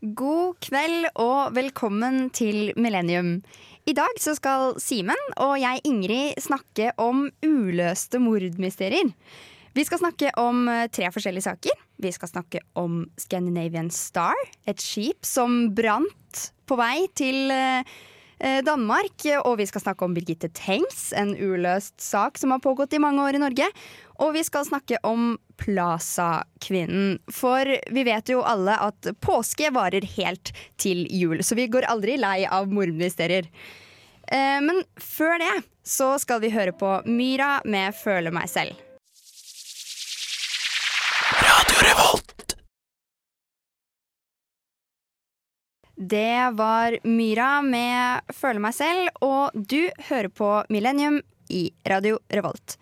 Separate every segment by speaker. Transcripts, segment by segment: Speaker 1: God kveld og velkommen til Millennium. I dag så skal Simen og jeg, Ingrid, snakke om uløste mordmysterier. Vi skal snakke om eh, tre forskjellige saker. Vi skal snakke om Scandinavian Star, et skip som brant på vei til eh, eh, Danmark. Og vi skal snakke om Birgitte Tengs, en uløst sak som har pågått i mange år i Norge. Og vi skal snakke om Plaza-kvinnen. For vi vet jo alle at påske varer helt til jul, så vi går aldri lei av mordmysterier. Eh, Men før det så skal vi høre på Myra med 'Føle meg selv'. Det var Myra med 'Føle meg selv', og du hører på Millennium i Radio Revolt.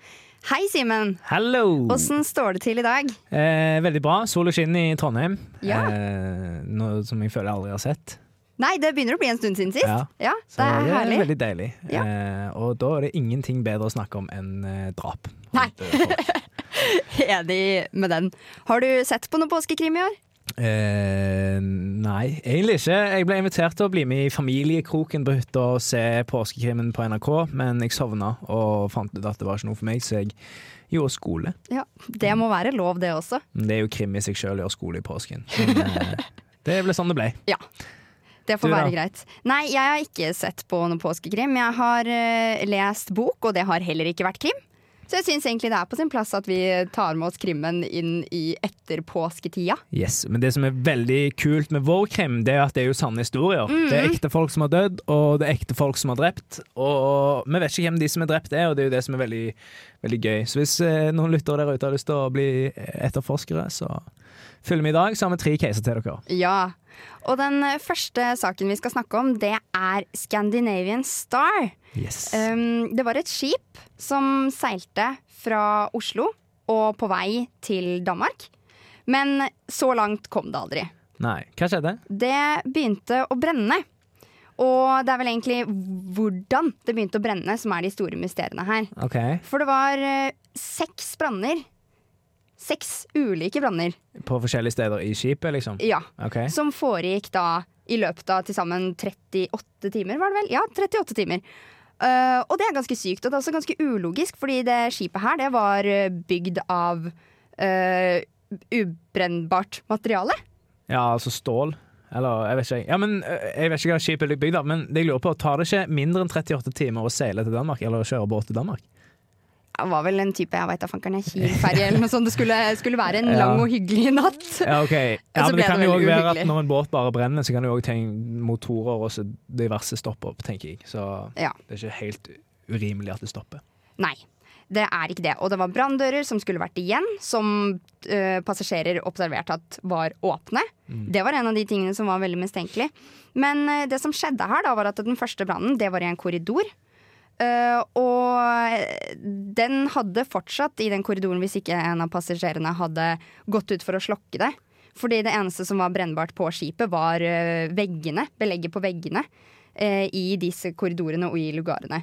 Speaker 1: Hei, Simen.
Speaker 2: Hallo!
Speaker 1: Åssen står det til i dag?
Speaker 2: Eh, veldig bra. Sol og skinn i Trondheim.
Speaker 1: Ja.
Speaker 2: Eh, noe som jeg føler jeg aldri har sett.
Speaker 1: Nei, det begynner å bli en stund siden sist.
Speaker 2: Ja.
Speaker 1: Ja,
Speaker 2: Så
Speaker 1: det er herlig.
Speaker 2: veldig deilig.
Speaker 1: Ja.
Speaker 2: Eh, og da er det ingenting bedre å snakke om enn eh, drap.
Speaker 1: Nei.
Speaker 2: Og døde folk.
Speaker 1: Enig med den. Har du sett på noen påskekrim i år?
Speaker 2: Eh, nei, egentlig ikke. Jeg ble invitert til å bli med i Familiekroken på hytta og se påskekrimmen på NRK, men jeg sovna og fant ut at det var ikke noe for meg, så jeg gjorde skole.
Speaker 1: Ja, Det må være lov, det også.
Speaker 2: Men Det er jo krim i seg sjøl å gjøre skole i påsken. Men, eh, det ble sånn det ble.
Speaker 1: Det får
Speaker 2: Du da?
Speaker 1: være greit. Nei, jeg har ikke sett på noen påskekrim. Jeg har eh, lest bok, og det har heller ikke vært krim. Så jeg syns egentlig det er på sin plass at vi tar med oss krimmen inn i etterpåsketida.
Speaker 2: Yes, Men det som er veldig kult med vår krim, det er at det er jo sanne historier. Det er ekte folk som har dødd, og det er ekte folk som har drept. Og vi vet ikke hvem de som er drept er, og det er jo det som er veldig, veldig gøy. Så hvis eh, noen lyttere der ute har lyst til å bli etterforskere, så følg med i dag, så har vi tre caser til dere.
Speaker 1: Ja. Og den eh, første saken vi skal snakke om, det er Scandinavian Star.
Speaker 2: Yes.
Speaker 1: Um, det var et skip som seilte fra Oslo og på vei til Danmark. Men så langt kom det aldri.
Speaker 2: Nei, hva skjedde?
Speaker 1: Det begynte å brenne. Og det er vel egentlig hvordan det begynte å brenne som er de store mysteriene her.
Speaker 2: OK.
Speaker 1: For det var eh, seks branner. Seks ulike branner,
Speaker 2: På forskjellige steder i skipet, liksom?
Speaker 1: ja.
Speaker 2: OK.
Speaker 1: Som foregikk da i løpet av til sammen 38 timer, var det vel? Ja, 38 timer. Eh, og det er ganske sykt, og det er også ganske ulogisk, fordi det skipet her det var eh, bygd av eh, ubrennbart materiale.
Speaker 2: Ja, altså stål. Eller jeg vet ikke. Ja, men øh, Jeg vet ikke hva skipet er bygd av, men det jeg lurer på, tar det ikke mindre enn 38 timer å seile til Danmark? Eller å kjøre båt til Danmark?
Speaker 1: Det var vel en type jeg vet da fankeren, en Kiel-ferje eller noe sånt. Det skulle, skulle være en
Speaker 2: Ja.
Speaker 1: lang og hyggelig natt.
Speaker 2: Ja, ok. Ja,
Speaker 1: så
Speaker 2: men
Speaker 1: ble
Speaker 2: det kan
Speaker 1: det
Speaker 2: jo
Speaker 1: veldig
Speaker 2: også være at
Speaker 1: uhyggelig.
Speaker 2: når en båt bare brenner, så kan du òg tenke motorer og så diverse stopper opp, tenker jeg. Så
Speaker 1: Ja.
Speaker 2: det er ikke helt urimelig at det stopper.
Speaker 1: Nei, det er ikke det. Og det var branndører som skulle vært igjen, som eh, passasjerer observerte at var åpne. Det var en av de tingene som var veldig mistenkelig. Men eh, det som skjedde her, da, var at den første brannen, det var i en korridor. Eh, og den hadde fortsatt i den korridoren hvis ikke en av passasjerene hadde gått ut for å slokke det. Fordi det eneste som var brennbart på skipet, var eh, veggene, belegget på veggene eh, i disse korridorene og i lugarene.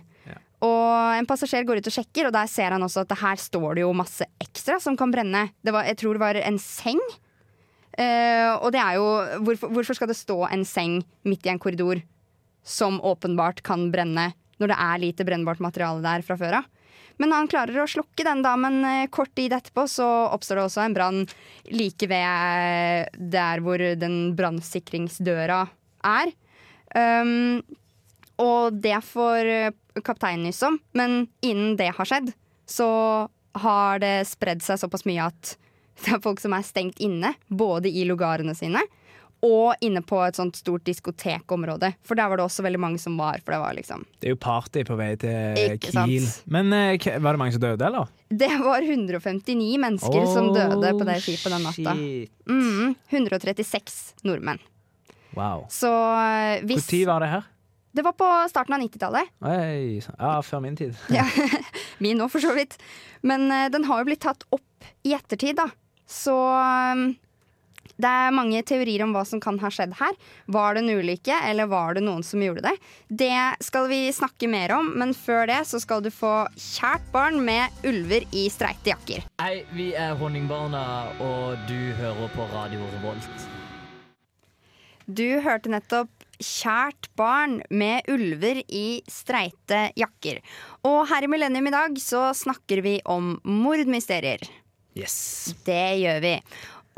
Speaker 1: Og en passasjer går ut og sjekker, og der ser han også at det her står det jo masse ekstra som kan brenne. Det var, jeg tror det var en seng. Eh, og det er jo hvorfor, hvorfor skal det stå en seng midt i en korridor som åpenbart kan brenne, når det er lite brennbart materiale der fra før av? Men han klarer å slukke den, da, men eh, kort tid etterpå så oppstår det også en brann like ved eh, der hvor den brannsikringsdøra er. Um, og det får eh, kapteinen nyss om, men innen det har skjedd, så har det spredd seg såpass mye at det er folk som er stengt inne, både i lugarene sine og inne på et sånt stort diskotekområde. For der var det også veldig mange som var, for det var liksom
Speaker 2: Det er jo party på vei til
Speaker 1: Ikke sant.
Speaker 2: Kiel. Men eh, hva- var det mange som døde, eller?
Speaker 1: Det var 159 mennesker som døde på det skipet den natta.
Speaker 2: Shit.
Speaker 1: Mm, 136 nordmenn.
Speaker 2: Wow.
Speaker 1: Så eh, hvis
Speaker 2: Når var det her?
Speaker 1: Det var på starten av 90-tallet.
Speaker 2: Oi, så- ja, før min tid.
Speaker 1: Ja. Min òg, for så vidt. Men eh, den har jo blitt tatt opp i ettertid, da. Så eh, det er mange teorier om hva som kan ha skjedd her. Var det en ulykke, eller var det noen som gjorde det? Det skal vi snakke mer om, men før det så skal du få Kjært barn med ulver i streite jakker.
Speaker 3: Hei, vi er Honningbarna, og du hører på Radio Revolt.
Speaker 1: Du hørte nettopp Kjært barn med ulver i streite jakker. Og her i Millennium i dag så snakker vi om mordmysterier.
Speaker 2: Yes.
Speaker 1: Det gjør vi.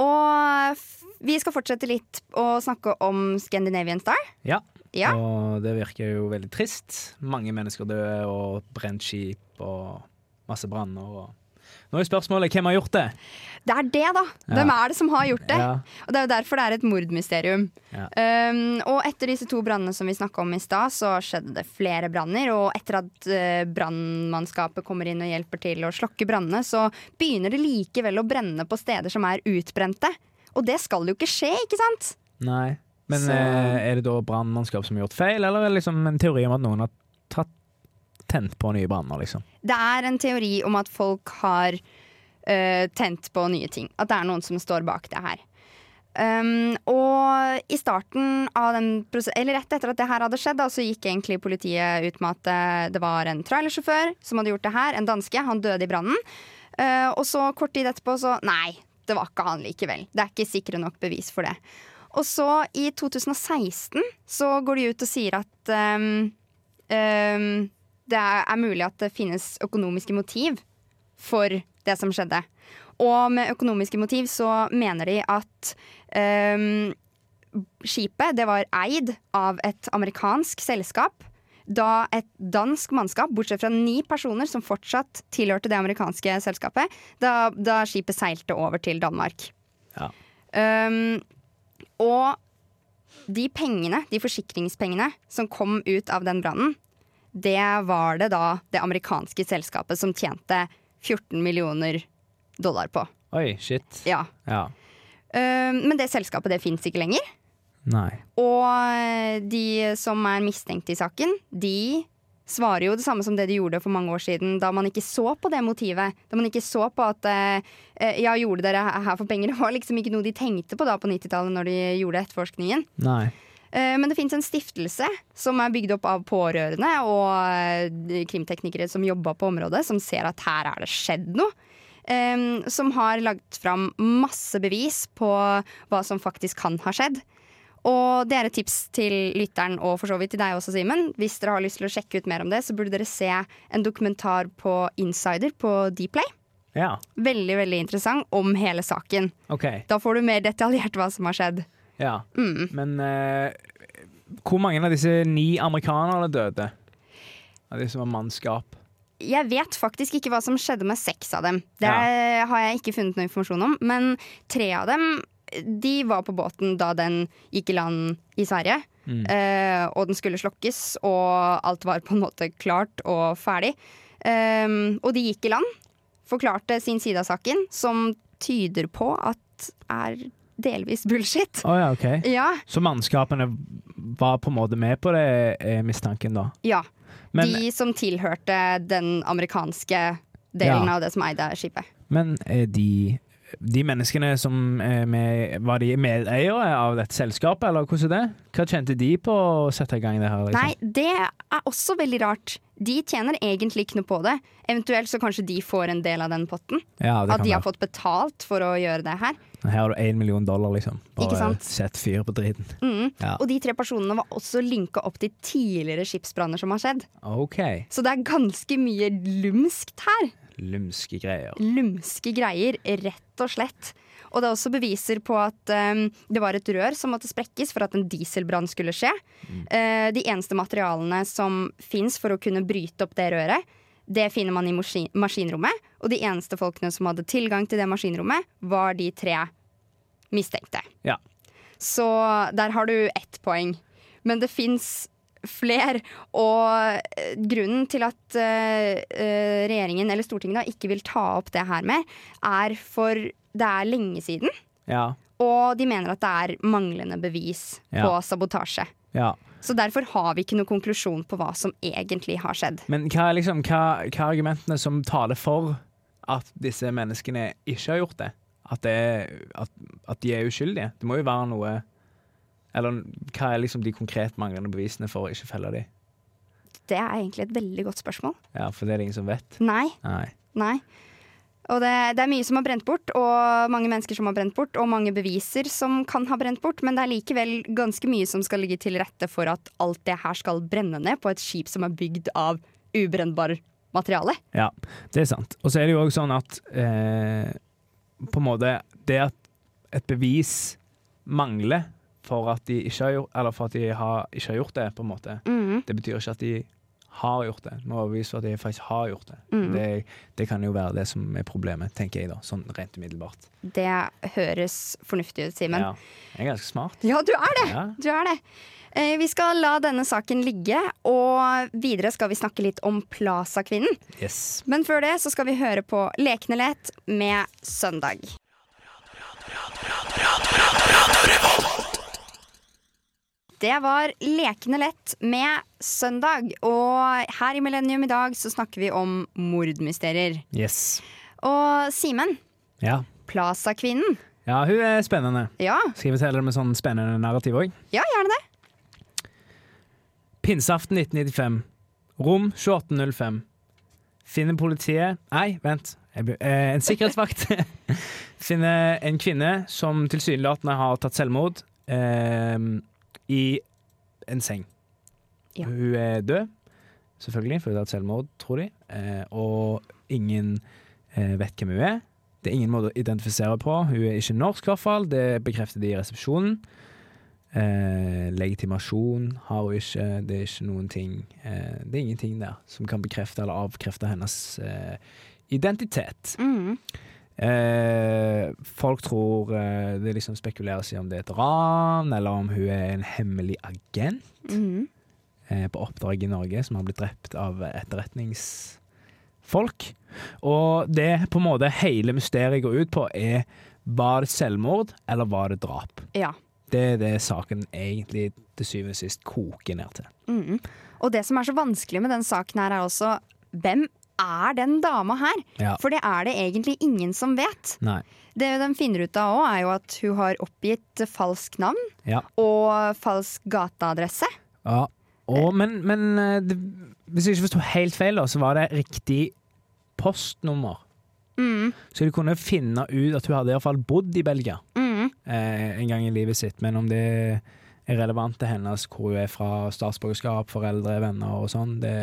Speaker 1: Og f- vi skal fortsette litt å snakke om Scandinavian Star.
Speaker 2: Ja.
Speaker 1: Ja.
Speaker 2: Og det virker jo veldig trist. Mange mennesker døde, og brent skip, og masse branner. Og... Nå er spørsmålet hvem har gjort det?
Speaker 1: Det er det, da! Hvem er det som har gjort det?
Speaker 2: Ja.
Speaker 1: Og Det er jo derfor det er et mordmysterium.
Speaker 2: Ja.
Speaker 1: Um, og etter disse to brannene som vi snakka om i stad, så skjedde det flere branner. Og etter at uh, brannmannskapet kommer inn og hjelper til å slokke brannene, så begynner det likevel å brenne på steder som er utbrente. Og det skal jo ikke skje, ikke sant?
Speaker 2: Nei. Men
Speaker 1: Så-
Speaker 2: eh, er det da brannmannskap som har gjort feil, eller er det liksom en teori om at noen har tatt, tent på nye branner, liksom?
Speaker 1: Det er en teori om at folk har eh, tent på nye ting. At det er noen som står bak det her. Um, og i starten av den prose- Eller rett etter at det her hadde skjedd, da, så gikk egentlig politiet ut med at eh, det var en trailersjåfør som hadde gjort det her. En danske. Han døde i brannen. Eh, og så kort tid etterpå så Nei, det var ikke han likevel. Det er ikke sikre nok bevis for det. Og så, i 2016, så går de ut og sier at ehm, ehm, det er, er mulig at det finnes økonomiske motiv for det som skjedde. Og med økonomiske motiv så mener de at ehm, skipet det var eid av et amerikansk selskap. Da et dansk mannskap, bortsett fra ni personer som fortsatt tilhørte det amerikanske selskapet, da, da skipet seilte over til Danmark.
Speaker 2: Ja.
Speaker 1: Ehm, og de pengene, de forsikringspengene som kom ut av den brannen, det var det da det amerikanske selskapet som tjente 14 millioner dollar på.
Speaker 2: Oi, shit.
Speaker 1: Ja.
Speaker 2: Ja.
Speaker 1: Eh, men det selskapet det fins ikke lenger.
Speaker 2: Nei.
Speaker 1: Og eh, de som er mistenkt i saken, de svarer jo det samme som det de gjorde for mange år siden, da man ikke så på det motivet. Da man ikke så på at eh, eh, ja, gjorde dere her for penger? Det var liksom ikke noe de tenkte på da på 90-tallet når de gjorde etterforskningen.
Speaker 2: Nei.
Speaker 1: Eh, Men det fins en stiftelse som er bygd opp av pårørende og eh, de krimteknikere som jobber på området, som ser at her er det skjedd noe. Eh, Som har lagt fram masse bevis på hva som faktisk kan ha skjedd. Og det er et tips til lytteren og for så vidt til deg også, Simen. Hvis dere har lyst til å sjekke ut mer om det, så burde dere se en dokumentar på Insider på Dplay.
Speaker 2: Ja,
Speaker 1: Veldig, veldig interessant om hele saken.
Speaker 2: OK.
Speaker 1: Da får du mer detaljert hva som har skjedd.
Speaker 2: Ja. Men eh, hvor mange av disse ni amerikanerne døde? Av de som var mannskap?
Speaker 1: Jeg vet faktisk ikke hva som skjedde med seks av dem. Det er- har jeg ikke funnet noe informasjon om. Men tre av dem de var på båten da den gikk i land i Sverige.
Speaker 2: Mm.
Speaker 1: eh, og den skulle slokkes, og alt var på en måte klart og ferdig. Ehm, og de gikk i land. Forklarte sin side av saken, som tyder på at er delvis bullshit.
Speaker 2: Å ja, OK.
Speaker 1: Ja.
Speaker 2: Så mannskapene var på en måte med på det, er mistanken da?
Speaker 1: ja.
Speaker 2: Men,
Speaker 1: de som tilhørte den amerikanske delen
Speaker 2: Ja.
Speaker 1: av det som eide skipet.
Speaker 2: men er de de menneskene som er med, Var de medeiere av dette selskapet, eller hvordan er det? Hva tjente de på å sette i gang det her? Liksom?
Speaker 1: Nei, det er også veldig rart. De tjener egentlig ikke noe på det. Eventuelt så kanskje de får en del av den potten.
Speaker 2: ja, det
Speaker 1: At
Speaker 2: kan
Speaker 1: de har
Speaker 2: være.
Speaker 1: fått betalt for å gjøre det her.
Speaker 2: Her har du én million dollar, liksom. Bare
Speaker 1: Ikke sant?
Speaker 2: sett fyr på driten.
Speaker 1: Mm.
Speaker 2: Ja.
Speaker 1: Og de tre personene var også linka opp til tidligere skipsbranner som har skjedd.
Speaker 2: OK.
Speaker 1: Så det er ganske mye lumskt her.
Speaker 2: Lumske greier.
Speaker 1: Lumske greier, rett og slett. Og det er også beviser på at eh, det var et rør som måtte sprekkes for at en dieselbrann skulle skje. Eh, de eneste materialene som fins for å kunne bryte opp det røret, det finner man i maskin maskinrommet. Og de eneste folkene som hadde tilgang til det maskinrommet, var de tre mistenkte.
Speaker 2: Ja.
Speaker 1: Så der har du ett poeng. Men det fins fler, og eh, grunnen til at eh, eh, regjeringen eller Stortinget da ikke vil ta opp det her mer, er for det er lenge siden,
Speaker 2: Ja.
Speaker 1: og de mener at det er manglende bevis
Speaker 2: Ja.
Speaker 1: på sabotasje.
Speaker 2: ja.
Speaker 1: Så derfor har vi ikke noen konklusjon på hva som egentlig har skjedd.
Speaker 2: Men hva er, liksom, hva, hva er argumentene som taler for at disse menneskene ikke har gjort det? At, det er, at, at de er uskyldige? Det må jo være noe Eller hva er liksom de konkret manglende bevisene for å ikke felle dem?
Speaker 1: Det er egentlig et veldig godt spørsmål.
Speaker 2: Ja, for det er det ingen som vet.
Speaker 1: Nei,
Speaker 2: Nei.
Speaker 1: nei. Og det, det er mye som har brent bort, og mange mennesker som har brent bort, og mange beviser som kan ha brent bort, men det er likevel ganske mye som skal ligge til rette for at alt det her skal brenne ned på et skip som er bygd av ubrennbar materiale.
Speaker 2: Ja, det er sant. Og så er det jo òg sånn at eh, på en måte Det at et bevis mangler for at de ikke har gjort, eller for at de har, ikke har gjort det, på en måte,
Speaker 1: Mhm.
Speaker 2: det betyr ikke at de har gjort det. De må overbevise for at de faktisk har gjort det.
Speaker 1: Mhm.
Speaker 2: det. Det kan jo være det som er problemet, tenker jeg da, sånn rent umiddelbart.
Speaker 1: Det høres fornuftig ut, Simen.
Speaker 2: Ja, jeg er ganske smart.
Speaker 1: Ja, du er det!
Speaker 2: Ja.
Speaker 1: Du er det. Eh, Vi skal la denne saken ligge, og videre skal vi snakke litt om Plaza-kvinnen.
Speaker 2: Yes.
Speaker 1: Men før det så skal vi høre på Lekne lett med Søndag. Det var Lekende lett med Søndag, og her i Millennium i dag så snakker vi om mordmysterier.
Speaker 2: yes.
Speaker 1: Og Simen,
Speaker 2: Ja.
Speaker 1: Plaza-kvinnen.
Speaker 2: ja, hun er spennende.
Speaker 1: Ja,
Speaker 2: Skal jeg fortelle det med sånn spennende narrativ òg?
Speaker 1: ja, gjerne det.
Speaker 2: Pinseaften 1995. Rom 2805. Finner politiet Nei, vent. Jeg be- eh, En sikkerhetsvakt finner en kvinne som tilsynelatende har tatt selvmord, eh, i en seng.
Speaker 1: Ja.
Speaker 2: Hun er død, selvfølgelig, for hun har tatt selvmord, tror de. Eh, og ingen eh, vet hvem hun er. Det er ingen måte å identifisere på. Hun er ikke norsk, i hvert fall. Det bekrefter de i resepsjonen. Eh, legitimasjon har hun ikke. Det er ikke noen ting eh, Det er ingenting der som kan bekrefte eller avkrefte hennes eh, identitet.
Speaker 1: Mm.
Speaker 2: Eh, folk tror eh, Det liksom spekuleres i om det er et ran, eller om hun er en hemmelig agent
Speaker 1: Mm.
Speaker 2: eh, på oppdrag i Norge som har blitt drept av etterretningsfolk. Og det på en måte hele mysteriet går ut på, er var det selvmord eller var det drap?
Speaker 1: Ja.
Speaker 2: Det er det saken egentlig til syvende og sist koker ned til.
Speaker 1: Mm. Og det som er så vanskelig med den saken her, er også hvem er den dama her?
Speaker 2: Ja.
Speaker 1: For det er det egentlig ingen som vet.
Speaker 2: Nei.
Speaker 1: Det de finner ut av òg, er jo at hun har oppgitt falsk navn
Speaker 2: Ja.
Speaker 1: og falsk gateadresse.
Speaker 2: ja. Og, men men eh, det, hvis jeg ikke forsto helt feil, da, så var det riktig postnummer.
Speaker 1: Mm.
Speaker 2: Så de kunne finne ut at hun hadde i hvert fall bodd i Belgia.
Speaker 1: Mm.
Speaker 2: eh, en gang i livet sitt, men om det er relevant til hennes, hvor hun er fra, statsborgerskap, foreldre, venner og sånn, det,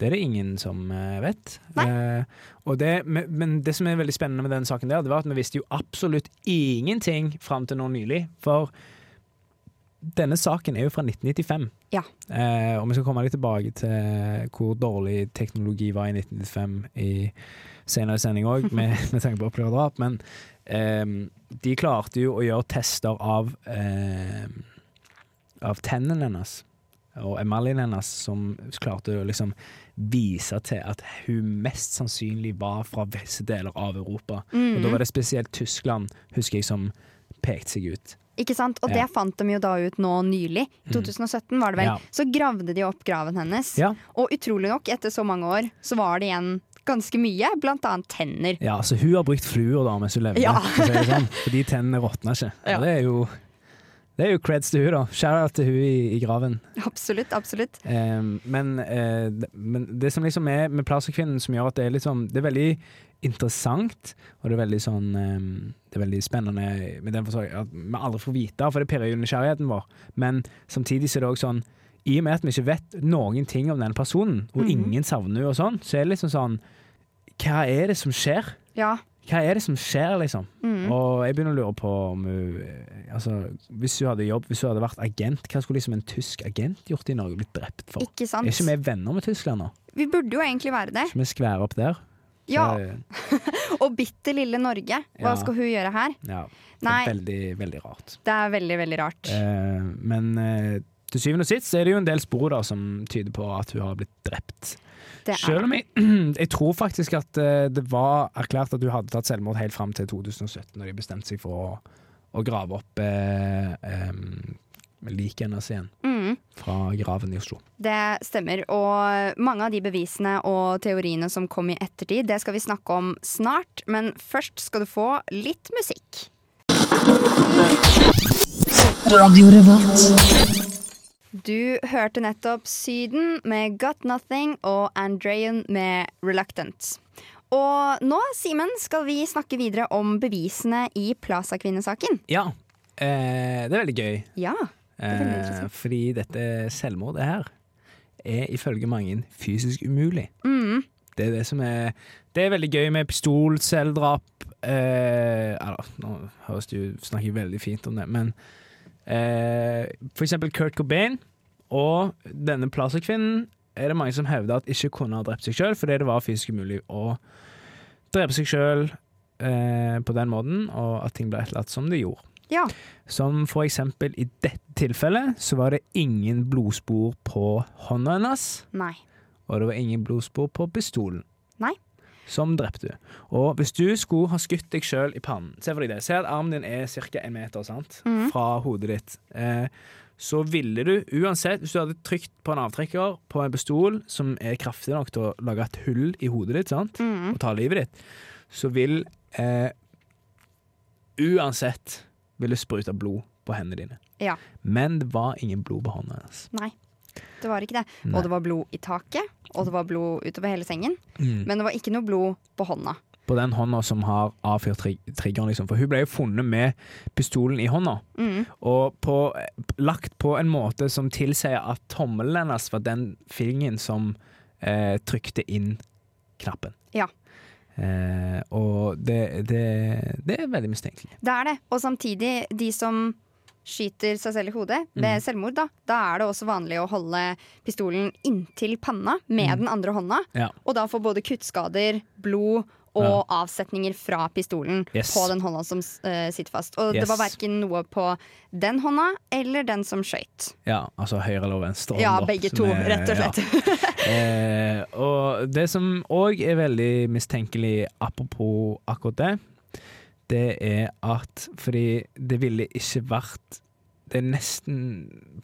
Speaker 2: det er det ingen som eh, vet. Eh, og det, men men det som er veldig spennende med den saken der, det var at vi visste jo absolutt ingenting fram til nå nylig, for denne saken er jo fra 1995.
Speaker 1: Ja.
Speaker 2: Eh, og vi skal komme litt tilbake til hvor dårlig teknologi var i 1995 i senere sending òg, med, med tanke på opplevd drap, men ehm, de klarte jo å gjøre tester av ehm, av tennene hennes og emaljen hennes, som klarte å liksom vise til at hun mest sannsynlig var fra visse deler av Europa. Og
Speaker 1: Mhm.
Speaker 2: da var det spesielt Tyskland, husker jeg, som pekte seg ut.
Speaker 1: Ikke sant? Og
Speaker 2: Ja. Mm.
Speaker 1: det fant de jo da ut nå nylig. I 2017 var det vel.
Speaker 2: Ja.
Speaker 1: Så gravde de opp graven hennes.
Speaker 2: Ja,
Speaker 1: Og utrolig nok, etter så mange år, så var det igjen ganske mye, blant annet tenner.
Speaker 2: ja så hun har brukt fluer da mens hun levde,
Speaker 1: Ja.
Speaker 2: for å si det sånn. Fordi tennene råtna ikke.
Speaker 1: Ja.
Speaker 2: Og det er jo det er jo creds til hun da. Shout-out til hun i, i graven.
Speaker 1: Absolutt, absolutt.
Speaker 2: Ehm, men, eh, d- men det som liksom er med Plaza-kvinnen som gjør at det er litt sånn Det er veldig interessant, og det er veldig sånn ehm, Det er veldig spennende med den forsorg at vi aldri får vite, for det pirrer jo nysgjerrigheten vår. Men samtidig så er det òg sånn I og med at vi ikke vet noen ting om den personen, og
Speaker 1: Mhm.
Speaker 2: ingen savner henne og sånn, så er det liksom sånn Hva er det som skjer?
Speaker 1: Ja.
Speaker 2: Hva er det som skjer, liksom?
Speaker 1: Mm.
Speaker 2: Og jeg begynner å lure på om hun eh, Altså, hvis hun hadde jobb, hvis hun hadde vært agent, hva skulle liksom en tysk agent gjort i Norge? Blitt drept for?
Speaker 1: Ikke sant?
Speaker 2: Er ikke vi venner med Tyskland nå?
Speaker 1: Vi burde jo egentlig være det.
Speaker 2: Skal vi skvære opp der? Så- eh,
Speaker 1: Ja, Og bitte lille Norge, hva
Speaker 2: Ja.
Speaker 1: skal hun gjøre her?
Speaker 2: ja. Det
Speaker 1: Nei.
Speaker 2: er veldig, veldig rart.
Speaker 1: Det er veldig, veldig rart.
Speaker 2: Eh, men eh, til syvende og sist så er det jo en del spor da, som tyder på at hun har blitt drept.
Speaker 1: Det er.
Speaker 2: Selv om jeg, jeg tror faktisk at eh, det var erklært at hun hadde tatt selvmord helt fram til 2017, når de bestemte seg for å, å grave opp eh, em, liket hennes igjen
Speaker 1: Mm,
Speaker 2: fra graven i Oslo.
Speaker 1: det stemmer. Og mange av de bevisene og teoriene som kom i ettertid, det skal vi snakke om snart. Men først skal du få litt musikk.
Speaker 3: Radio Revolt.
Speaker 1: Du hørte nettopp Syden med Got Nothing og Andrean med Reluctant. Og nå, Simen, skal vi snakke videre om bevisene i Plaza-kvinnesaken.
Speaker 2: Ja, eh, det er veldig gøy.
Speaker 1: Ja. veldig
Speaker 2: Eh,
Speaker 1: interessant.
Speaker 2: fordi dette selvmordet her er ifølge mange fysisk umulig.
Speaker 1: Mm.
Speaker 2: Det er det som er Det er veldig gøy med pistol, selvdrap eh, Eller, nå høres det jo snakker jeg veldig fint om det, men eh, For eksempel Kurt Cobain og denne Plaza-kvinnen er det mange som hevder at ikke kunne ha drept seg sjøl, fordi det var fysisk umulig å drepe seg sjøl eh, på den måten, og at ting ble etterlatt som det gjorde.
Speaker 1: Ja.
Speaker 2: Som for eksempel i dette tilfellet, så var det ingen blodspor på hånda hennes,
Speaker 1: Nei.
Speaker 2: og det var ingen blodspor på pistolen.
Speaker 1: Nei.
Speaker 2: Som drepte. Og hvis du skulle ha skutt deg sjøl i pannen Se for deg det. Se at armen din er ca. en meter sant? fra hodet ditt. Eh, så ville du uansett, hvis du hadde trykt på en avtrekker på en pistol som er kraftig nok til å lage et hull i hodet ditt, sant?
Speaker 1: Mm.
Speaker 2: og ta livet ditt, så vil eh, Uansett vil det sprute blod på hendene dine.
Speaker 1: Ja.
Speaker 2: Men det var ingen blod på hånda hennes.
Speaker 1: Nei. Det var ikke det.
Speaker 2: Nei.
Speaker 1: Og det var blod i taket, og det var blod utover hele sengen.
Speaker 2: Mm.
Speaker 1: Men det var ikke noe blod på hånda.
Speaker 2: på den hånda som har avfyrt tri triggeren, liksom. For hun ble jo funnet med pistolen i hånda,
Speaker 1: Mm.
Speaker 2: og på, lagt på en måte som tilsier at tommelen hennes var den fingeren som eh, trykte inn knappen.
Speaker 1: Ja.
Speaker 2: Eh, og det, det, det er veldig mistenkelig.
Speaker 1: Det er det. Og samtidig, de som skyter seg selv i hodet
Speaker 2: Mm.
Speaker 1: ved selvmord, da, da er det også vanlig å holde pistolen inntil panna med den andre hånda.
Speaker 2: Mm. Ja.
Speaker 1: Og da får både kuttskader, blod og avsetninger fra pistolen
Speaker 2: Yes.
Speaker 1: på den hånda som eh, sitter fast. Og
Speaker 2: Yes.
Speaker 1: det var verken noe på den hånda eller den som skøyt.
Speaker 2: Ja, altså høyre eller venstre. hånd
Speaker 1: Ja,
Speaker 2: opp,
Speaker 1: begge
Speaker 2: som
Speaker 1: to,
Speaker 2: er-
Speaker 1: rett og
Speaker 2: ja.
Speaker 1: slett.
Speaker 2: Eh, og det som òg er veldig mistenkelig apropos akkurat det, det er at fordi det ville ikke vært det er nesten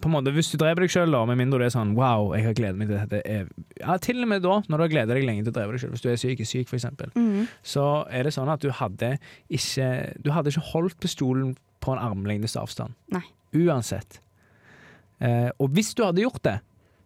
Speaker 2: på en måte, Hvis du dreper deg sjøl, med mindre du er sånn Wow, jeg har gledet meg til dette. ev- Ja, til og med da, når du har gledet deg lenge til å drepe deg sjøl, hvis du er psykisk syk, f.eks
Speaker 1: Mhm.
Speaker 2: så er det sånn at du hadde ikke Du hadde ikke holdt pistolen på en armlengdes avstand.
Speaker 1: Nei.
Speaker 2: Uansett. Eh, og hvis du hadde gjort det,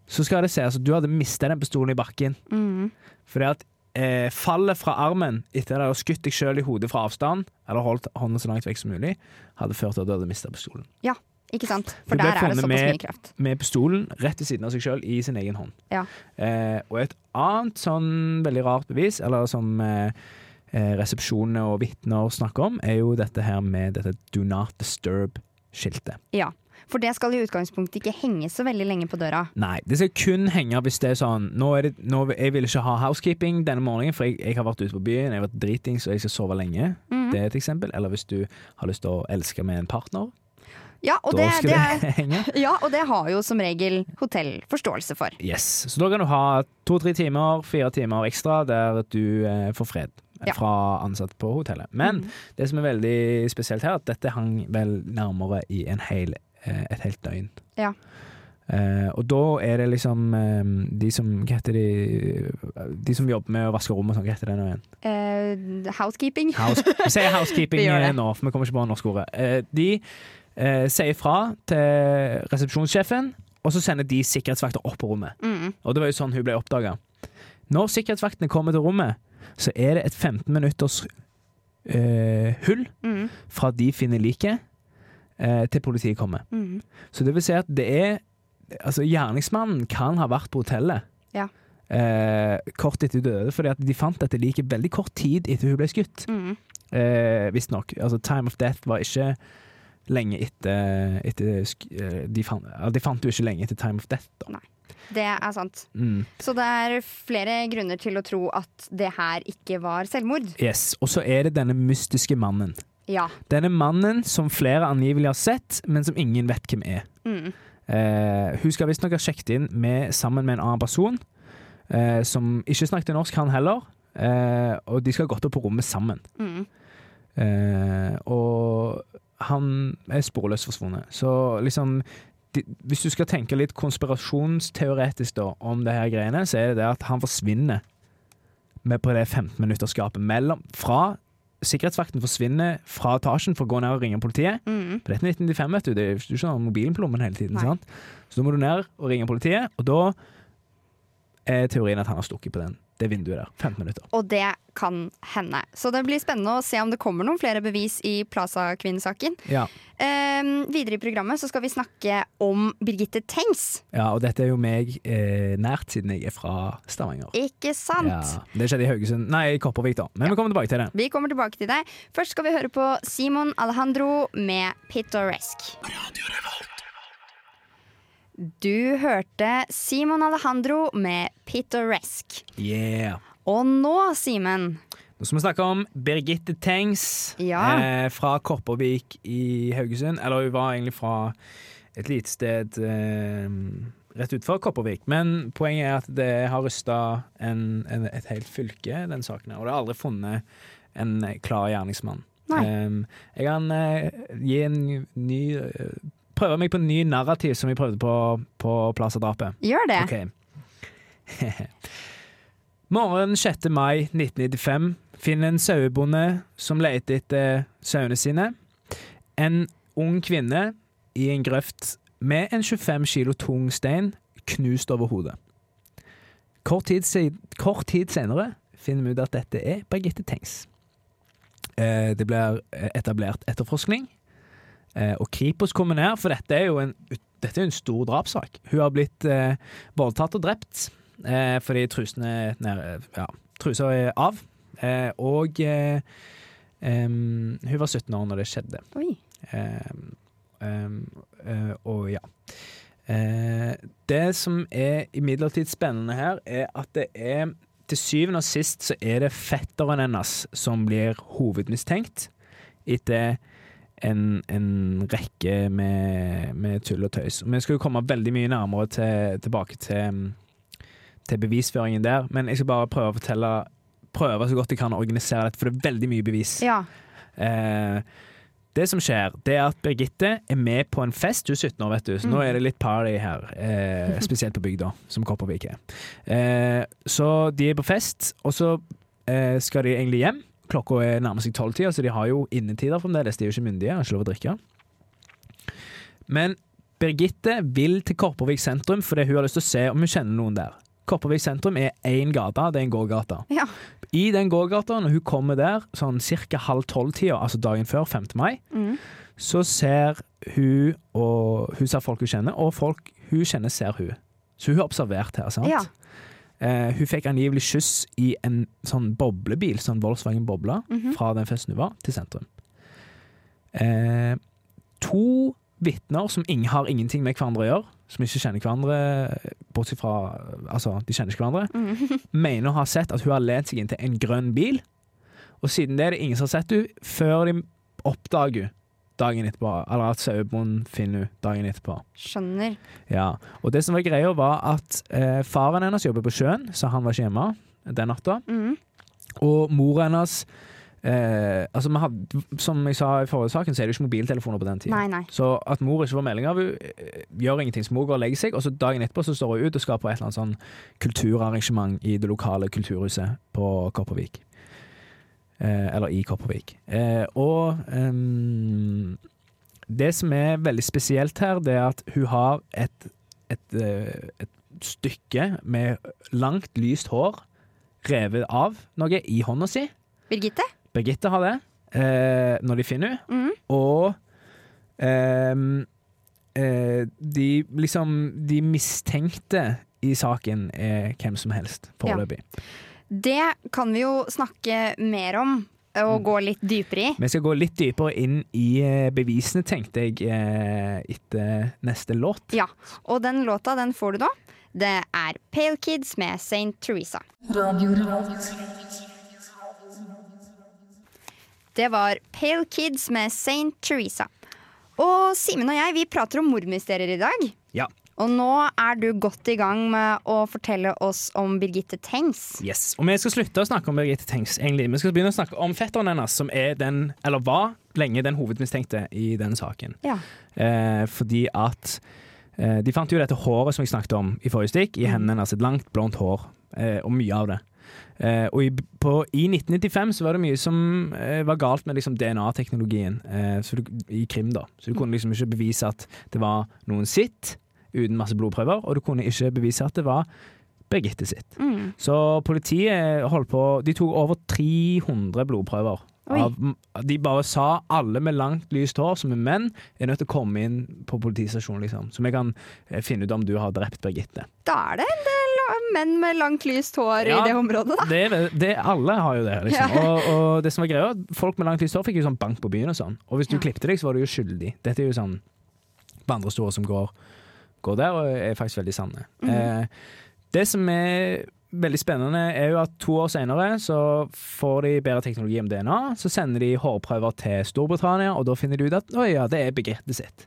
Speaker 2: så skal det sies at du hadde mista den pistolen i bakken.
Speaker 1: Mhm.
Speaker 2: Fordi at eh, fallet fra armen etter at du har skutt deg sjøl i hodet fra avstand, eller holdt hånda så langt vekk som mulig, hadde ført til at du hadde mista pistolen.
Speaker 1: Ja, ikke sant?
Speaker 2: Du
Speaker 1: For
Speaker 2: ble
Speaker 1: der er det
Speaker 2: funnet
Speaker 1: såpass
Speaker 2: med-
Speaker 1: mye kraft.
Speaker 2: Med pistolen rett ved siden av seg sjøl i sin egen hånd.
Speaker 1: Ja.
Speaker 2: Eh, og et annet sånn veldig rart bevis, eller som eh, eh, resepsjonene og vitner snakker om, er jo dette her med dette do not disturb-skiltet.
Speaker 1: ja. For det skal i utgangspunktet ikke henge så veldig lenge på døra.
Speaker 2: Nei, det skal kun henge hvis det er sånn nå er det, nå, Jeg vil ikke ha housekeeping denne morgenen, for jeg, jeg har vært ute på byen, jeg har vært dritings og jeg skal sove lenge.
Speaker 1: Mhm.
Speaker 2: Det er et eksempel. Eller hvis du har lyst til å elske med en partner,
Speaker 1: Ja, og
Speaker 2: da
Speaker 1: det,
Speaker 2: skal
Speaker 1: det
Speaker 2: det,
Speaker 1: er
Speaker 2: henge.
Speaker 1: Ja, og det har jo som regel hotell forståelse for.
Speaker 2: Yes. Så da kan du ha to-tre timer, fire timer ekstra der du eh, får fred
Speaker 1: Ja. Mhm.
Speaker 2: fra ansatte på hotellet. Men det som er veldig spesielt her, at dette hang vel nærmere i en hel, eh, et helt døgn.
Speaker 1: Ja.
Speaker 2: Eh, og da er det liksom eh, de som Hva heter de De som jobber med å vaske rom og sånn, hva heter det nå igjen?
Speaker 1: Eh, housekeeping.
Speaker 2: House, vi sier housekeeping
Speaker 1: Vi gjør det.
Speaker 2: eh, nå, for vi kommer ikke på det norske ordet. Eh, de eh, sier fra til resepsjonssjefen, og så sender de sikkerhetsvakter opp på rommet.
Speaker 1: Mm.
Speaker 2: Og det var jo sånn hun ble oppdaga. Når sikkerhetsvaktene kommer til rommet, så er det et 15 minutters eh, hull
Speaker 1: Mm.
Speaker 2: fra de finner liket, eh, til politiet kommer.
Speaker 1: Mm.
Speaker 2: Så det vil si at det er Altså, gjerningsmannen kan ha vært på hotellet.
Speaker 1: Ja.
Speaker 2: Eh, kort etter hun døde, fordi at de fant dette liket veldig kort tid etter hun ble skutt.
Speaker 1: Mm.
Speaker 2: Eh, Visstnok. Altså, time of death var ikke lenge etter, etter sk- eh, de, fant, ja, de fant jo ikke lenge etter time of death, da.
Speaker 1: Det er sant.
Speaker 2: Mm.
Speaker 1: Så det er flere grunner til å tro at det her ikke var selvmord.
Speaker 2: Yes, Og så er det denne mystiske mannen.
Speaker 1: Ja.
Speaker 2: Denne mannen som flere angivelig har sett, men som ingen vet hvem er.
Speaker 1: Mm.
Speaker 2: Eh, hun skal visstnok ha sjekket inn med, sammen med en annen person, eh, som ikke snakket norsk, han heller. Eh, og de skal ha gått opp på rommet sammen.
Speaker 1: Mm.
Speaker 2: Eh, og han er sporløst forsvunnet. Så liksom de, Hvis du skal tenke litt konspirasjonsteoretisk da, om det her greiene, så er det det at han forsvinner med på det 15-minutterskapet mellom Fra sikkerhetsvakten forsvinner fra etasjen for å gå ned og ringe politiet.
Speaker 1: Mm.
Speaker 2: For dette er 1995, vet du. Det er jo ikke- du har ikke sånn mobilen på lommen hele tiden.
Speaker 1: Nei.
Speaker 2: Sant? Så da må du ned og ringe politiet, og da er teorien at han har stukket på den det vinduet der. 15 minutter.
Speaker 1: Og det kan hende. Så det blir spennende å se om det kommer noen flere bevis i Plaza-kvinnesaken.
Speaker 2: Ja.
Speaker 1: Ehm, videre i programmet så skal vi snakke om Birgitte Tengs.
Speaker 2: ja, og dette er jo meg eh, nært, siden jeg er fra Stavanger.
Speaker 1: Ikke sant?
Speaker 2: Ja, det skjedde i Haugesund Nei, i Kopervik, da. Men vi kommer tilbake til det.
Speaker 1: Vi kommer tilbake til det. Først skal vi høre på Simon Alejandro med Pittoresk. Du hørte Simon Alejandro med Pittoresk.
Speaker 2: Yeah.
Speaker 1: Og nå, Simen
Speaker 2: Nå skal vi snakke om Birgitte Tengs
Speaker 1: Ja.
Speaker 2: eh, fra Kopervik i Haugesund. Eller hun var egentlig fra et lite sted eh, rett utenfor Kopervik. Men poenget er at det har rysta en, en, et helt fylke, den saken her. Og det har aldri funnet en klar gjerningsmann.
Speaker 1: Nei.
Speaker 2: Eh, jeg kan eh, gi en ny eh, Prøve meg på en ny narrativ som vi prøvde på på Plaza Drapet.
Speaker 1: gjør det.
Speaker 2: Ok. Morgen 6. mai 1995 finner en sauebonde som leter etter sauene sine, en ung kvinne i en grøft med en 25 kilo tung stein knust over hodet. Kort tid, si- kort tid senere finner vi ut at dette er Birgitte Tengs. Eh, Det blir eh, etablert etterforskning, eh, og Kripos kommer ned, for dette er jo en, ut- dette er jo en stor drapssak. Hun har blitt eh, voldtatt og drept eh, fordi trusene er nede, ja, trusa er av. Eh, og eh, em, hun var 17 år når det skjedde.
Speaker 1: Oi.
Speaker 2: Em, em, Ehm, eh, og ja. Eh, det som er imidlertid spennende her, er at det er til syvende og sist så er det fetteren hennes som blir hovedmistenkt etter en, en rekke med, med tull og tøys. Vi skal jo komme veldig mye nærmere til, tilbake til, mm, til bevisføringen der, men jeg skal bare prøve å fortelle Prøve så godt jeg kan å organisere dette, for det er veldig mye bevis.
Speaker 1: Ja.
Speaker 2: Eh, det som skjer, det er at Birgitte er med på en fest. Hun er 17 år, vet du, så nå er det litt party her. Eh, spesielt på bygda, som Kopervik er. Eh, så de er på fest, og så eh, skal de egentlig hjem. Klokka er nærmer seg tolvtida, så de har jo innetider fremdeles. De er jo ikke myndige, har ikke lov å drikke. Men Birgitte vil til Kopervik sentrum fordi hun har lyst til å se om hun kjenner noen der. Kopervik sentrum er én gate, det er en gågate.
Speaker 1: ja.
Speaker 2: I den gågata, når hun kommer der sånn ca. halv tolv-tida, altså dagen før, 5. mai,
Speaker 1: Mm.
Speaker 2: så ser hun og Hun ser folk hun kjenner, og folk hun kjenner, ser hun. Så hun har observert her, sant?
Speaker 1: Ja.
Speaker 2: Eh, hun fikk angivelig skyss i en sånn boblebil, sånn Volkswagen Bobla,
Speaker 1: Mhm.
Speaker 2: fra den festen hun var, til sentrum. Eh, to vitner som ing- har ingenting med hverandre å gjøre, som ikke kjenner hverandre, bortsett fra Altså, de kjenner ikke hverandre
Speaker 1: Mhm.
Speaker 2: mener å ha sett at hun har lent seg inn til en grønn bil. Og siden det er det ingen som har sett henne, før de oppdager henne dagen etterpå. Eller at sauebonden finner henne dagen etterpå.
Speaker 1: Skjønner.
Speaker 2: Ja. Og det som var greia, var at eh, faren hennes jobber på sjøen, så han var ikke hjemme den natta.
Speaker 1: Mhm.
Speaker 2: Og mor hennes eh, altså vi hadde, Som jeg sa i forrige saken, så er det jo ikke mobiltelefoner på den tiden.
Speaker 1: Nei, nei.
Speaker 2: Så at mor ikke får melding av henne, eh, gjør ingenting. Så mor går og legger seg, og så dagen etterpå så står hun ut og skal på et eller annet sånn kulturarrangement i det lokale kulturhuset på Kopervik. Eh, eller i Kopervik. Eh, og ehm, det som er veldig spesielt her, det er at hun har et, et, eh, et stykke med langt, lyst hår revet av noe i hånda si.
Speaker 1: Birgitte?
Speaker 2: Birgitte har det eh, når de finner henne.
Speaker 1: Mhm.
Speaker 2: Og ehm, eh, de liksom De mistenkte i saken er hvem som helst, foreløpig.
Speaker 1: Det kan vi jo snakke mer om og gå litt dypere i.
Speaker 2: Vi skal gå litt dypere inn i eh, bevisene, tenkte jeg, eh, etter neste låt.
Speaker 1: Ja, Og den låta den får du nå. Det er Pale Kids med St. Teresa.
Speaker 3: Radio Revolt.
Speaker 1: Det var Pale Kids med St. Teresa. Og Simen og jeg vi prater om mordmysterier i dag.
Speaker 2: Ja.
Speaker 1: Og nå er du godt i gang med å fortelle oss om Birgitte Tengs.
Speaker 2: Yes. Og vi skal slutte å snakke om Birgitte Tengs, egentlig. Vi skal begynne å snakke om fetteren hennes, som er den, eller var lenge den hovedmistenkte i den saken.
Speaker 1: Ja.
Speaker 2: Eh, fordi at eh, De fant jo dette håret som jeg snakket om i forrige stikk, i hendene hennes. Et langt, blondt hår. Eh, og mye av det. Eh, og i, på, i 1995 så var det mye som eh, var galt med liksom, DNA-teknologien eh, så du, i krim. da Så du kunne liksom ikke bevise at det var noen sitt, uten masse blodprøver. Og du kunne ikke bevise at det var Birgitte sitt.
Speaker 1: Mm.
Speaker 2: Så politiet eh, holdt på De tok over 300 blodprøver.
Speaker 1: Oi.
Speaker 2: Av, de bare sa alle med langt, lyst hår som er menn, er nødt til å komme inn på politistasjonen, liksom. Så vi kan eh, finne ut om du har drept Birgitte.
Speaker 1: Da er det en del eh, menn med langt, lyst hår
Speaker 2: Ja.
Speaker 1: i det området, da.
Speaker 2: Det, er vel- det, alle har jo det, liksom.
Speaker 1: Ja.
Speaker 2: Og, og det som var greia, folk med langt lyst hår fikk jo sånn bank på byen og sånn. Og hvis du
Speaker 1: Ja.
Speaker 2: klippte deg, så var du jo skyldig. Dette er jo sånn vandrestorer som går, går der, og er faktisk veldig sanne.
Speaker 1: Mhm.
Speaker 2: Eh, det som er veldig spennende, er jo at to år senere så får de bedre teknologi om DNA. Så sender de hårprøver til Storbritannia, og da finner de ut at å ja, det er begrepet sitt.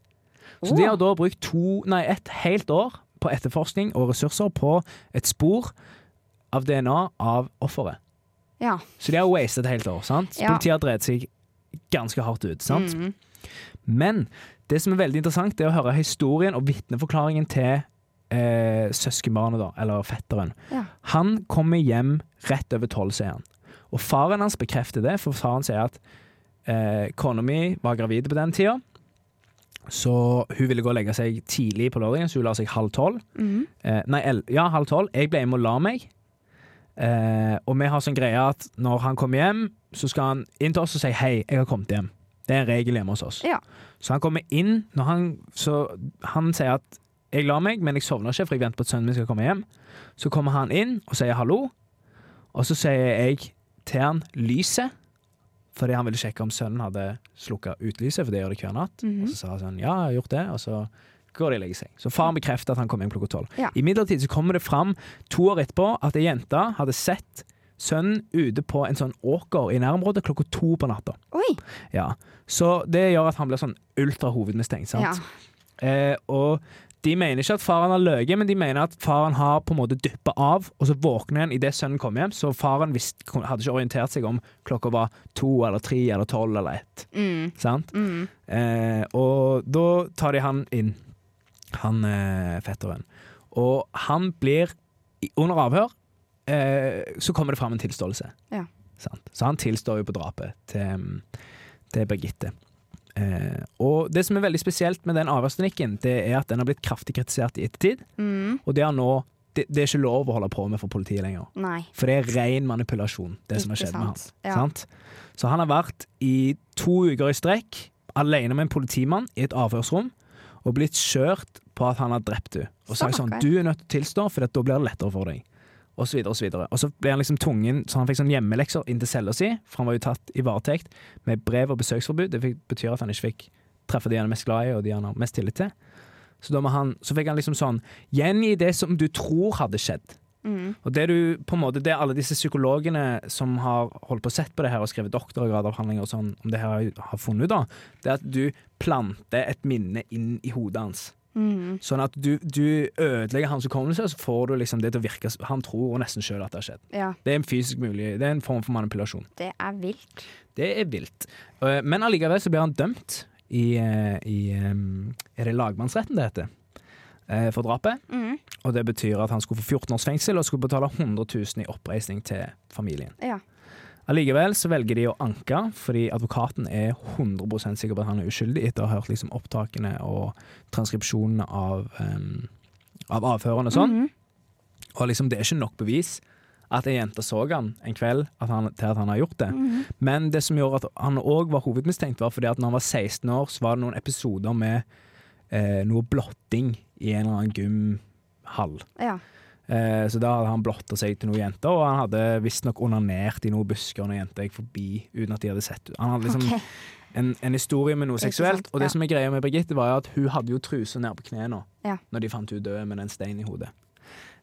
Speaker 2: Så
Speaker 1: Åh.
Speaker 2: de har da brukt to, nei, et helt år på etterforskning og ressurser på et spor av DNA av offeret.
Speaker 1: Ja.
Speaker 2: Så de har wastet et helt år. sant?
Speaker 1: Ja.
Speaker 2: Politiet har drevet seg ganske hardt ut. sant?
Speaker 1: Mm.
Speaker 2: Men det som er veldig interessant, det er å høre historien og vitneforklaringen til eh, søskenbarnet, da, eller fetteren.
Speaker 1: Ja.
Speaker 2: Han kommer hjem rett over tolv, sier han. Og faren hans bekrefter det, for faren sier at eh, kona mi var gravid på den tida. Så hun ville gå og legge seg tidlig på lørdagen, så hun la seg halv tolv.
Speaker 1: Mm.
Speaker 2: Eh, nei, el ja, halv tolv. Jeg ble hjemme og la meg. Eh, og vi har sånn greie at når han kommer hjem, så skal han inn til oss og si 'hei, jeg har kommet hjem'. Det er en regel hjemme hos oss.
Speaker 1: Ja.
Speaker 2: Så han kommer inn når han Så han sier at 'jeg la meg, men jeg sovner ikke, for jeg venter på at sønnen min skal komme hjem'. Så kommer han inn og sier 'hallo', og så sier jeg til han 'lyset', fordi han ville sjekke om sønnen hadde slukka utlyset, for det gjør det hver natt.
Speaker 1: Mhm.
Speaker 2: Og så sa han sånn 'ja, jeg har gjort det', og så går de og legger seg. Så faren bekrefter at han kom hjem klokka tolv.
Speaker 1: Ja.
Speaker 2: Imidlertid så kommer det fram to år etterpå at ei jente hadde sett sønnen ute på en sånn åker i nærområdet klokka to på natta.
Speaker 1: Oi.
Speaker 2: Ja. Så det gjør at han blir sånn ultrahovedmistenkt.
Speaker 1: Ja.
Speaker 2: sant? Eh, og de mener ikke at faren har løyet, men de mener at faren har på en måte dyppa av, og så våkner han idet sønnen kommer hjem, så faren visst, hadde ikke orientert seg om klokka var to eller tre eller tolv eller ett.
Speaker 1: Mm.
Speaker 2: Sant?
Speaker 1: Mm.
Speaker 2: Eh, og da tar de han inn, han eh, fetteren. Og han blir i- Under avhør eh, så kommer det fram en tilståelse.
Speaker 1: Ja.
Speaker 2: Sant? Så han tilstår jo på drapet til, mm, til Birgitte. Eh, og det som er veldig spesielt med den avhørsklinikken, det er at den har blitt kraftig kritisert i ettertid.
Speaker 1: Mm.
Speaker 2: Og det er, nå, det, det er ikke lov å holde på med for politiet lenger.
Speaker 1: Nei.
Speaker 2: For det er ren manipulasjon, det som har
Speaker 1: Ikke
Speaker 2: skjedd med han.
Speaker 1: sant. Ja.
Speaker 2: Sant? Så han har vært i to uker i strekk alene med en politimann i et avhørsrom og blitt kjørt på at han har drept henne. Og så er det sånn,
Speaker 1: Stakkar.
Speaker 2: du er nødt til å tilstå, for at da blir det lettere for deg. Og så videre og så videre. Og så ble han liksom tvungen, så han fikk sånn hjemmelekser inn til cella si, for han var jo tatt i varetekt med brev og besøksforbud. Det fikk, betyr at han ikke fikk treffe de han er mest glad i, og de han har mest tillit til. Så, da må han, så fikk han liksom sånn, gjengi det som du tror hadde skjedd.
Speaker 1: Mm.
Speaker 2: Og det, du, på en måte, det er alle disse psykologene som har holdt på og sett på det her og skrevet doktorgradavhandlinger og sånn, om det her har- har funnet ut, da, det er at du planter et minne inn i hodet hans.
Speaker 1: Mm.
Speaker 2: Sånn at du, du ødelegger hans hukommelse, og så får du liksom det til å virke s- Han tror nesten sjøl at det har skjedd.
Speaker 1: Ja.
Speaker 2: Det er en fysisk mulig, det er en form for manipulasjon.
Speaker 1: Det er vilt.
Speaker 2: Det er vilt. Eh, Men allikevel så blir han dømt i, eh, i eh, Er det lagmannsretten det heter? Eh, For drapet.
Speaker 1: Mm.
Speaker 2: Og det betyr at han skulle få 14 års fengsel og skulle betale 100 000 i oppreisning til familien.
Speaker 1: Ja.
Speaker 2: Allikevel så velger de å anke, fordi advokaten er 100 sikker på at han er uskyldig etter å ha hørt liksom opptakene og transkripsjonene av, em, av avhørene og sånn.
Speaker 1: Mhm.
Speaker 2: Og liksom det er ikke nok bevis at ei jente så han en kveld at han, til at han har gjort det.
Speaker 1: Mhm.
Speaker 2: Men det som gjorde at han òg var hovedmistenkt, var fordi at når han var 16 år, så var det noen episoder med eh, noe blotting i en eller annen gymhall.
Speaker 1: Ja.
Speaker 2: Eh, Så da hadde han blotta seg til noen jenter, og han hadde visstnok onanert i noen busker når jenter gikk forbi uten at de hadde sett det. Han hadde liksom
Speaker 1: Ok.
Speaker 2: en, en historie med noe
Speaker 1: Ikke
Speaker 2: seksuelt.
Speaker 1: sant,
Speaker 2: Og det
Speaker 1: ja.
Speaker 2: som er greia med Birgitte, var jo at hun hadde jo trusa ned på knærne
Speaker 1: Ja.
Speaker 2: når de fant hun død med den steinen i hodet.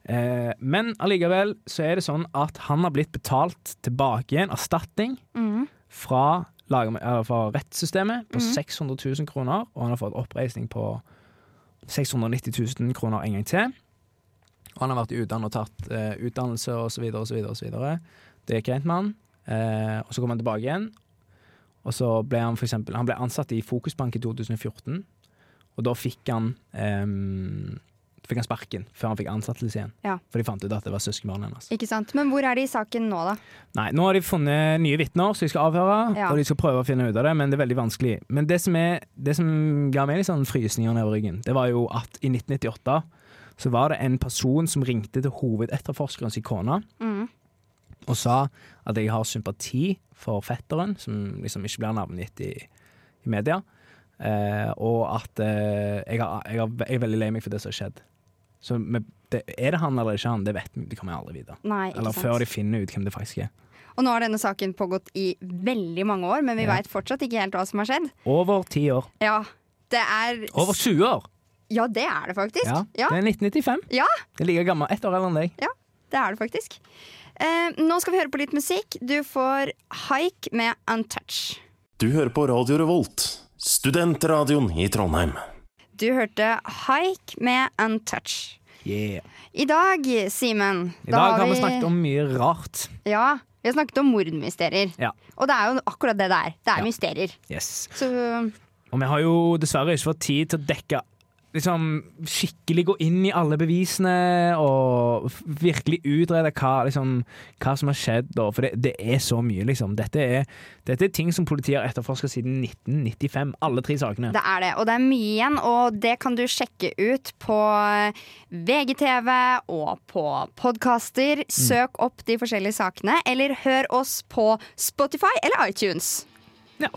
Speaker 2: Eh, Men allikevel så er det sånn at han har blitt betalt tilbake igjen, erstatning,
Speaker 1: Mhm.
Speaker 2: fra, lag- eller fra rettssystemet på
Speaker 1: Mhm.
Speaker 2: 600 000 kroner, og han har fått oppreisning på 690 000 kroner en gang til. Og han har vært i utlandet og tatt eh, utdannelse og så videre og så videre. Og så videre. Det gikk greit med han. Eh, og så kom han tilbake igjen. Og så ble han for eksempel, han ble ansatt i Fokusbank i 2014, og da fikk han ehm, Fikk han sparken før han fikk ansettelse igjen.
Speaker 1: Ja.
Speaker 2: For de fant ut at det var søskenbarnet hennes.
Speaker 1: Ikke sant. Men hvor er de i saken nå, da?
Speaker 2: Nei, nå har de funnet nye vitner som de skal avhøre,
Speaker 1: Ja.
Speaker 2: og de skal prøve å finne ut av det, men det er veldig vanskelig. Men det som, er, det som ga meg litt sånn frysninger nedover ryggen, det var jo at i 1998 så var det en person som ringte til hovedetterforskeren sin kone
Speaker 1: Mm.
Speaker 2: og sa at jeg har sympati for fetteren, som liksom ikke blir navngitt i, i media, eh, og at eh, jeg, har, jeg, har, jeg er veldig lei meg for det som har skjedd. Så vi- det, er det han eller ikke han, det vet vi, det kommer jeg aldri vite.
Speaker 1: Nei, ikke
Speaker 2: Eller
Speaker 1: sant.
Speaker 2: før de finner ut hvem det faktisk er.
Speaker 1: Og nå har denne saken pågått i veldig mange år, men vi
Speaker 2: Ja.
Speaker 1: vet fortsatt ikke helt hva som har skjedd.
Speaker 2: Over ti år.
Speaker 1: Ja, det er
Speaker 2: Over 20 år!
Speaker 1: Ja, det er det faktisk.
Speaker 2: Ja.
Speaker 1: Ja,
Speaker 2: Det er 1995.
Speaker 1: Ja.
Speaker 2: Jeg er like gammel. Ett år eldre enn deg.
Speaker 1: det er det faktisk. Eh, nå skal vi høre på litt musikk. Du får Haik med Untouch.
Speaker 4: Du hører på Radio Revolt, studentradioen i Trondheim.
Speaker 1: Du hørte Haik med Untouch.
Speaker 2: Yeah.
Speaker 1: I dag, Simen
Speaker 2: I dag har vi snakket om mye rart.
Speaker 1: Ja, vi har snakket om mordmysterier.
Speaker 2: Ja.
Speaker 1: Og det er jo akkurat det det er. Det er mysterier.
Speaker 2: Yes.
Speaker 1: Så um,
Speaker 2: Og vi har jo dessverre ikke fått tid til å dekke Liksom skikkelig gå inn i alle bevisene og f- virkelig utrede hva, liksom, hva som har skjedd. Og, for det, det er så mye, liksom. Dette er, dette er ting som politiet har etterforska siden 1995. Alle tre sakene.
Speaker 1: det er det. Og det er mye igjen, og det kan du sjekke ut på eh, VGTV og på podkaster. Søk opp de forskjellige sakene, eller hør oss på Spotify eller iTunes.
Speaker 2: Ja.